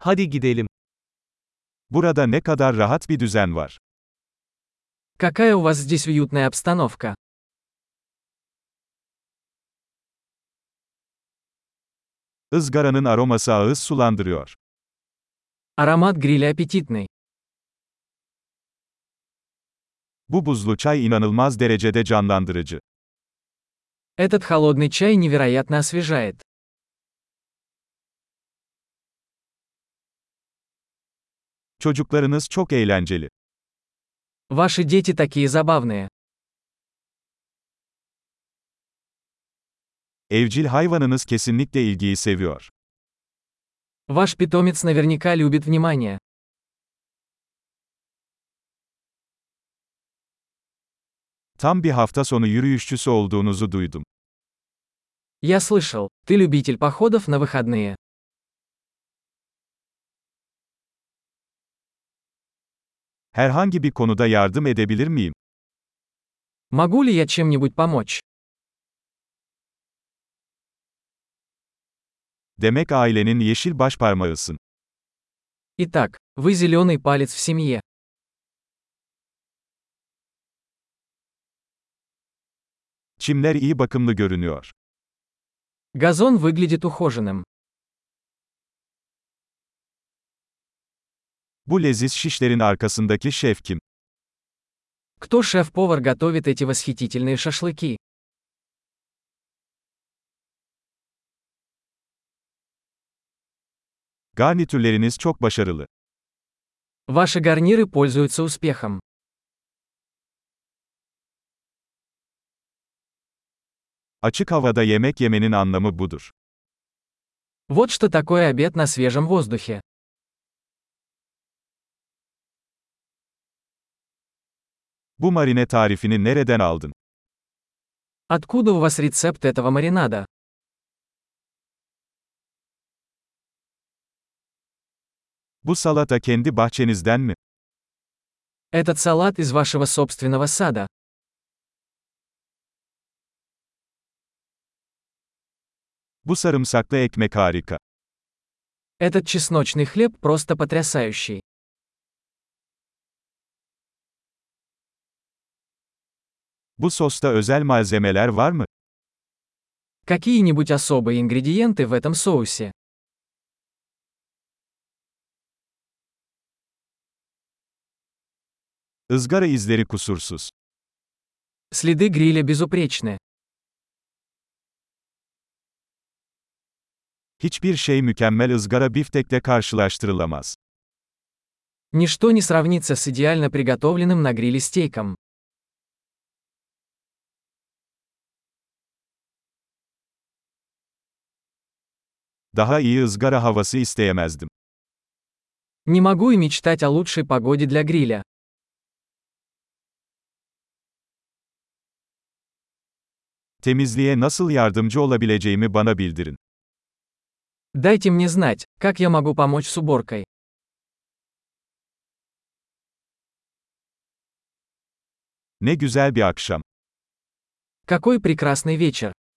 Hadi gidelim. Burada ne kadar rahat bir düzen var. Какая у вас здесь уютная обстановка? Izgaranın aroması ağız sulandırıyor. Аромат гриля аппетитный. Bu buzlu çay inanılmaz derecede canlandırıcı. Этот холодный чай невероятно освежает. Çocuklarınız çok eğlenceli. Ваши дети такие забавные. Evcil hayvanınız kesinlikle ilgiyi seviyor. Ваш питомец наверняка любит внимание. Tam bir hafta sonu yürüyüşçüsü olduğunuzu duydum. Я слышал, ты любитель походов на выходные. Herhangi bir konuda yardım edebilir miyim? Могу ли я чем-нибудь помочь? Demek ailenin yeşil başparmağısın. Итак, вы зеленый палец в семье. Çimler iyi bakımlı görünüyor. Газон выглядит ухоженным. Bu leziz şişlerin arkasındaki şef kim? Кто шеф-повар готовит эти восхитительные шашлыки? Garnitürleriniz çok başarılı. Ваши гарниры пользуются успехом. Açık havada yemek yemenin anlamı budur. Вот что такое обед на свежем воздухе. Bu marine tarifini nereden aldın? Откуда у вас рецепт этого маринада? Bu salata kendi bahçenizden mi? Этот салат из вашего собственного сада. Bu sarımsaklı ekmek harika. Этот чесночный хлеб просто потрясающий. Bu sosta özel malzemeler var mı? Какие-нибудь особые ингредиенты в этом соусе? Izgara izleri kusursuz. Следы гриля безупречны. Hiçbir şey mükemmel ızgara biftekle karşılaştırılamaz. Ничто не сравнится с идеально приготовленным на гриле стейком. Daha iyi ızgara havası isteyemezdim. Не могу и мечтать о лучшей погоде для гриля. Temizliğe nasıl yardımcı olabileceğimi bana bildirin. Дайте мне знать, как я могу помочь с уборкой. Ne güzel bir akşam. Какой прекрасный вечер.